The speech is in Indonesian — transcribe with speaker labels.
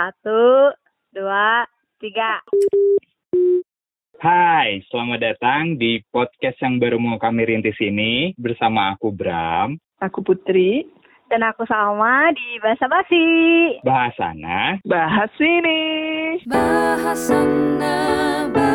Speaker 1: Satu, dua, tiga.
Speaker 2: Hai, selamat datang di podcast yang baru mau kami rintis ini bersama aku Bram,
Speaker 3: Aku Putri,
Speaker 1: Dan aku sama di Bahasa Basi.
Speaker 2: Bahasana,
Speaker 3: bahas ini.
Speaker 4: Bahasana, bahasana.